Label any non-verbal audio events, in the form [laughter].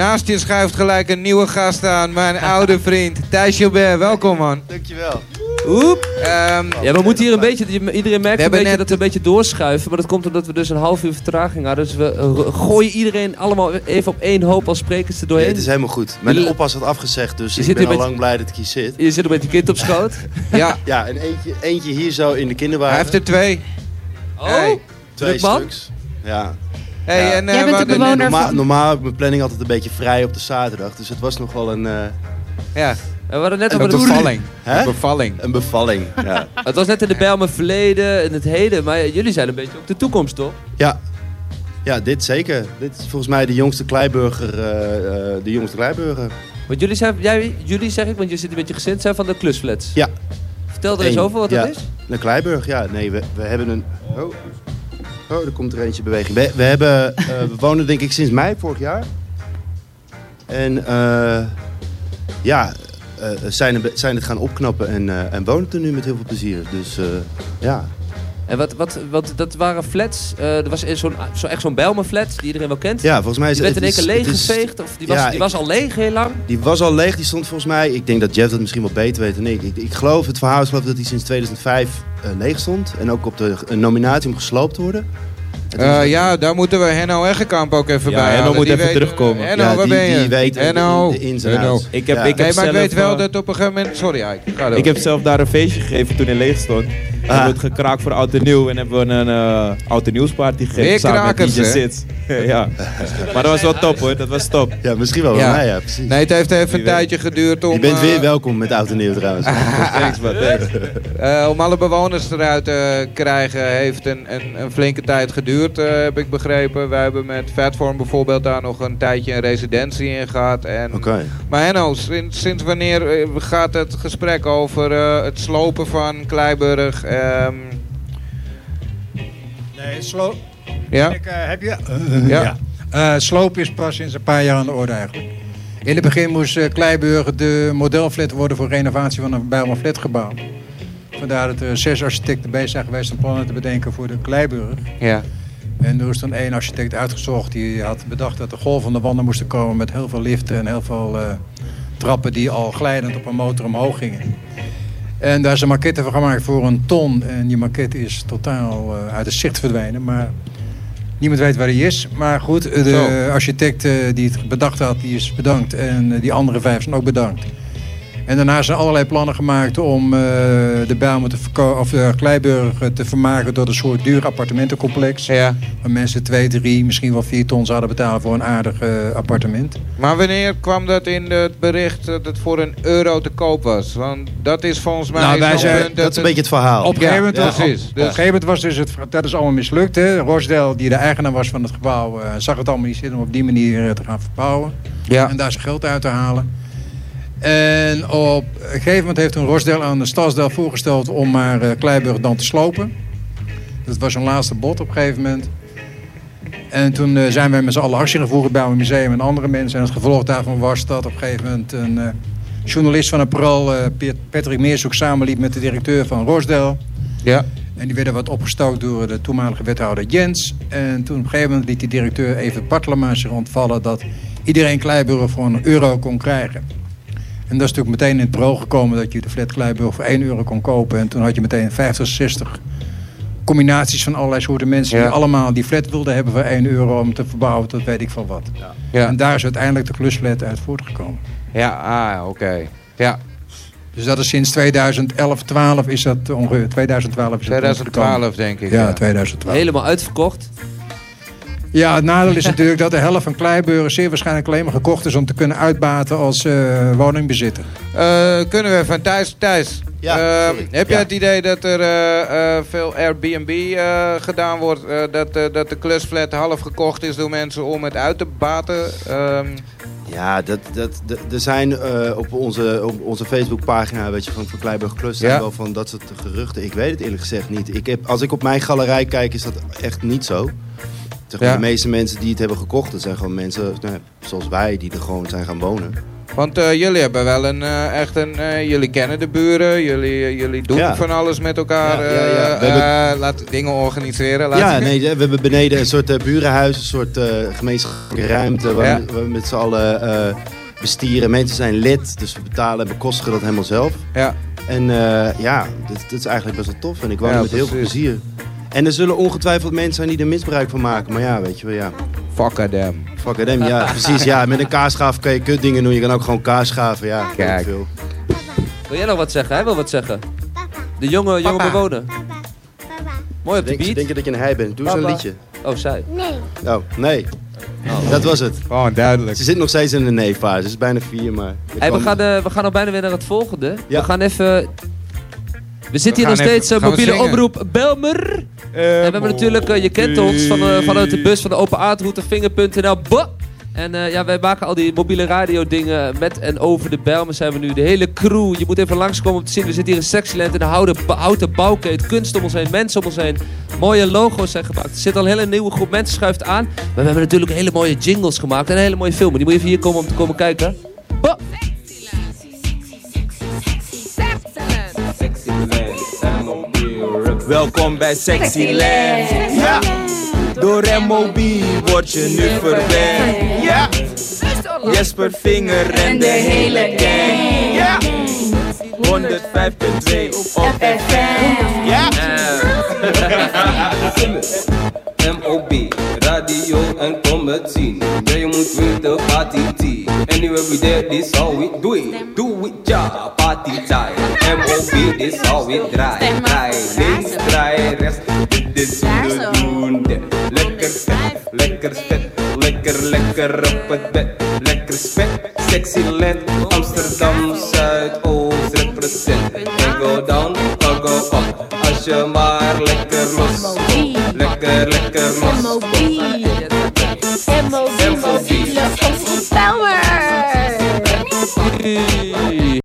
Naast je schuift gelijk een nieuwe gast aan, mijn oude vriend Thijs Gilbert. Welkom man. Dankjewel. Oep. Ehm, Oh, Ja, we moeten hier een fijn. beetje, iedereen merkt We een hebben beetje net- dat we een beetje doorschuiven, maar dat komt omdat we dus een half uur vertraging hadden. Dus we eh, gooien iedereen allemaal even op één hoop als sprekers er Nee, doorheen. het is helemaal goed. Mijn Jullie- oppas had afgezegd, dus Je ik zit ben hier al met- lang blij dat ik hier zit. Je zit er met je kind op schoot. ja, Ja, en eentje, eentje hier zo in de hij kinderwagen. heeft er twee. Oh, Hey. twee druk man. stuks. Ja. Hey, Ja. en, eh, Jij bent we de hadden- bewoner- Wonder Normaal, van- normaal heb ik mijn planning altijd een beetje vrij op de zaterdag, dus het was nog wel een, eh, Ja, En we hadden net een over de- bevalling. Hè? Een bevalling. een [laughs] bevalling. Ja. Het was net in de bijl mijn verleden en het heden, maar jullie zijn een beetje op de toekomst, toch? ja. Ja, dit zeker. Dit is volgens mij de jongste kleiburger. eh, eh, de jongste kleiburger. Want jullie zijn, jij, jullie zeg ik, want jullie zitten met je gezin, zijn van de klusflats. Ja. Vertel er eens Eén. over wat Ja. dat is. Een kleiburg, ja. Nee, we, we hebben een... Oh. oh, er komt er eentje in beweging. We, we, hebben, eh, we [laughs] wonen denk ik sinds mei vorig jaar. En eh, ja, eh, zijn, er be- zijn het gaan opknappen en, eh, en wonen er nu met heel veel plezier. Dus eh, ja, En wat, wat, wat, dat waren flats, eh, er was eerst zo'n, zo, echt zo'n Bijlmer-flat die iedereen wel kent. ja volgens mij is Die werd in één het keer is- het is- leeggeveegd, of die was, Ja, die ik- was al leeg heel lang. Die was al leeg, die stond volgens mij. Ik denk dat Jeff dat misschien wel beter weet dan ik. Ik, ik geloof, het verhaal is geloof ik dat hij sinds 2005 eh, leeg stond. En ook op de een nominatie om gesloopt te worden. En toen is Eh, ja, daar moeten we Henno Eggenkamp ook even Ja, bij Henno halen. moet Die even weet- terugkomen. Henno, ja, waar die, ben je? Die weet de- Henno. de ins en Henno. outs. Ik heb, Ja. ik heb nee, maar ik zelf, weet wel eh, dat op een gegeven moment... Sorry, Ike. Ga door. Ik heb zelf daar een feestje gegeven toen in leeg stond. We Ah. hebben het gekraakt voor oud en nieuw en hebben we een eh oud en nieuwsparty gegeven Weer samen krakers, met DJ hè? Sits. [laughs] ja. Maar dat was wel top hoor, dat was top. Ja, misschien wel. Ja. Ja, ja precies. Nee, het heeft even Wie weet. een tijdje geduurd om... Je bent eh, weer welkom met Oud en Nieuw trouwens. [laughs] Thanks man, thanks. Eh, om alle bewoners eruit te krijgen heeft een, een, een flinke tijd geduurd, eh, heb ik begrepen. Wij hebben met Fatform bijvoorbeeld daar nog een tijdje een residentie in gehad. En... Oké. Maar Henno, sinds, sinds wanneer eh, gaat het gesprek over eh, het slopen van Kleiburg? ehm, Nee, sloop. ja? Kijk, eh, heb je? Ja. [laughs] ja. Eh, sloop is pas sinds een paar jaar aan de orde eigenlijk. In het begin moest eh Kleiburg de modelflat worden voor renovatie van een Bijlmer flatgebouw. Vandaar dat er zes architecten bezig zijn geweest om plannen te bedenken voor de Kleiburg. ja. En er is dan één architect uitgezocht die had bedacht dat er golvende wanden moesten komen met heel veel liften en heel veel eh, trappen die al glijdend op een motor omhoog gingen. En daar is een maquette van gemaakt voor een ton. En die maquette is totaal eh, uit het zicht verdwenen. Maar niemand weet waar die is. Maar goed, eh, de Zo. architect eh, die het bedacht had, die is bedankt. En eh, die andere vijf zijn ook bedankt. En daarna zijn allerlei plannen gemaakt om eh, de Bijlmer te verko- of de Kleiburg eh, te vermaken door een soort duur appartementencomplex. ja. Waar mensen twee, drie, misschien wel vier ton zouden betalen voor een aardig eh, appartement. Maar wanneer kwam dat in het bericht dat het voor een euro te koop was? Want dat is volgens mij... Nou, wij zo'n zijn- punt Dat is een het- beetje het verhaal. Op een gegeven moment, ja, was- op, precies. op Dus- een gegeven moment was dus het, dat is allemaal mislukt. Hè. Rochdale, die de eigenaar was van het gebouw, eh, zag het allemaal niet zitten om op die manier eh, te gaan verbouwen. Ja. En daar zijn geld uit te halen. En op een gegeven moment heeft toen Rosdel aan de Stadsdeel voorgesteld om maar eh, Kleiburg dan te slopen. Dat was hun laatste bod op een gegeven moment. En toen eh, zijn wij met z'n allen actie gevoerd bij een museum en andere mensen. En het gevolg daarvan was dat op een gegeven moment een eh, journalist van een parool, eh, Piet- Patrick Meershoek, samenliep met de directeur van Rosdel. Ja. En die werden wat opgestookt door de toenmalige wethouder Jens. En toen op een gegeven moment liet die directeur even Bartelema zich ontvallen dat iedereen Kleiburg voor een euro kon krijgen. En dat is natuurlijk meteen in het bureau gekomen dat je de flat Kleiburg voor 1 euro kon kopen. En toen had je meteen 50, 60 combinaties van allerlei soorten mensen Ja. die allemaal die flat wilden hebben voor 1 euro om te verbouwen tot weet ik van wat. Ja, En daar is uiteindelijk de klusflat uit voortgekomen. ja ah, oké. Ja, Dus dat is sinds 2011, 12 is dat ongeveer. 2012 is dat 2012 denk ik. voortgekomen. Ja, 2012. Helemaal uitverkocht. Ja, het nadeel is natuurlijk dat de helft van Kleiburg zeer waarschijnlijk alleen maar gekocht is om te kunnen uitbaten als eh, woningbezitter. Eh, kunnen we van Thijs? Thijs, Ja, eh, sorry. heb jij Ja. het idee dat er eh, eh, veel Airbnb eh, gedaan wordt? eh, dat, eh, dat de klusflat half gekocht is door mensen om het uit te baten? Ehm, Ja, dat, dat, dat- er zijn eh, op onze, op onze Facebookpagina, weet je, van, van Kleiburg Klus, zijn Ja. wel van dat soort geruchten. Ik weet het eerlijk gezegd niet. Ik heb, als ik op mijn galerij kijk, is dat echt niet zo. Zeg maar, Ja. De meeste mensen die het hebben gekocht, dat zijn gewoon mensen nou, ja, zoals wij, die er gewoon zijn gaan wonen. Want eh, jullie hebben wel een eh, echt een. eh, jullie kennen de buren, jullie, eh, jullie doen Ja. van alles met elkaar. Ja, ja, ja. eh, We hebben- eh, laat dingen organiseren. Laat Ja, nee, we hebben beneden een soort eh, burenhuis, een soort eh, gemeenschappelijke ruimte waar, Ja. we, waar we met z'n allen eh, bestieren. Mensen zijn lid, dus we betalen en bekostigen dat helemaal zelf. ja. En eh, ja, dit, dit is eigenlijk best wel tof en ik woon Ja, er met heel veel precies. plezier. En er zullen ongetwijfeld mensen zijn die er misbruik van maken, maar ja, weet je wel, ja. Fuck them. Fuck it, hem, ja, precies. Ja, met een kaasschaaf kan je kutdingen doen, je kan ook gewoon kaasschaven, ja. weet ik Kijk. veel. Wil jij nog wat zeggen? Hij wil wat zeggen. De jonge, jonge Papa. bewoner. Mooi op de Denk, ze beat. denken dat je een hij bent, doe eens een Papa. liedje. Oh, zij. Nee. Oh, nee, dat was het. Oh. Gewoon duidelijk. Ze zit nog steeds in de nee-fase, ze is bijna vier, maar... Hey, we, gaan, eh, we gaan al bijna weer naar het volgende. Ja. We gaan even... We zitten hier gaan nog steeds, even- eh, gaan we mobiele zingen? oproep Belmer. En we hebben natuurlijk, eh, je kent ons, van, eh, vanuit de bus van de open aardroute, vinger.nl. Bah! En eh, ja, wij maken al die mobiele radio dingen met en over de Belmer zijn we nu. De hele crew, je moet even langskomen om te zien. We zitten hier in Sexyland in een houten, ba- houten bouwkeet. Kunst om ons heen, mensen om ons heen. Mooie logo's zijn gemaakt. Er zit al een hele nieuwe groep mensen schuift aan. Maar we hebben natuurlijk hele mooie jingles gemaakt en hele mooie filmen. Die moet je even hier komen om te komen kijken. Bah! Welkom bij Sexyland. Ja. Door MOB word je nu verwend. Ja. Jesper Vinger en de hele gang. Ja. 105.2 op FM. Ja. MOB, radio en kom het zien. Jij moet weten party tea. Anyway we there, this how we do it. Do it ja, party time. MOB, this how we draai. Draai, links, draai, rechts. Dit is hoe we doen dit. Lekker vet, lekker vet. Lekker, lekker op het bed. Lekker spek, sexy land. Amsterdam, Zuidoost, represent. En go down, kan go up. Als je maar lekker los komt. Lekker, lekker los komt. MOB, MOB, MOB, power. Hey.